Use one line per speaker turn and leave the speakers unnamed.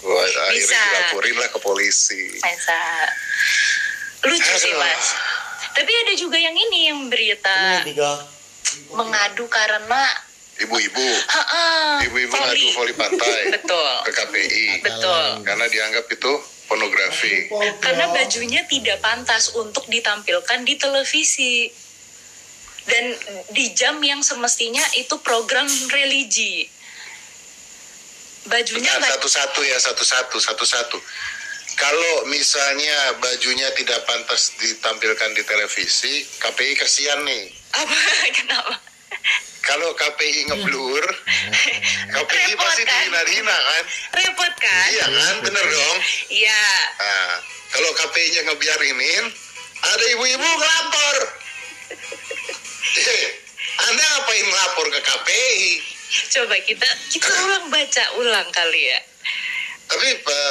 Wah, akhirnya
Bisa.
dilaporin lah ke polisi.
Bisa. Lucu sih mas. Tapi ada juga yang ini yang berita
tiga
mengadu karena
Ibu-ibu,
Ha-ha,
ibu-ibu
voli.
ngadu voli pantai
Ah, Betul.
ke KPI
Betul.
karena dianggap itu pornografi. Oh.
Karena bajunya tidak pantas untuk ditampilkan di televisi dan di jam yang semestinya itu program religi. Bajunya
Bentar,
ba-
satu-satu ya, satu-satu, satu-satu. Kalau misalnya bajunya tidak pantas ditampilkan di televisi, KPI kasihan nih.
apa? Kenapa?
Kalau KPI ngeblur, KPI
Hmm. Repot,
pasti
kan?
dihina-hina kan?
Repot kan?
Iya kan, bener dong.
Iya.
Nah, kalau KPI-nya ngebiarinin, ada ibu-ibu ngelapor. Eh, Anda ngapain ngelapor ke KPI?
Coba kita kita ulang baca ulang kali ya.
eh,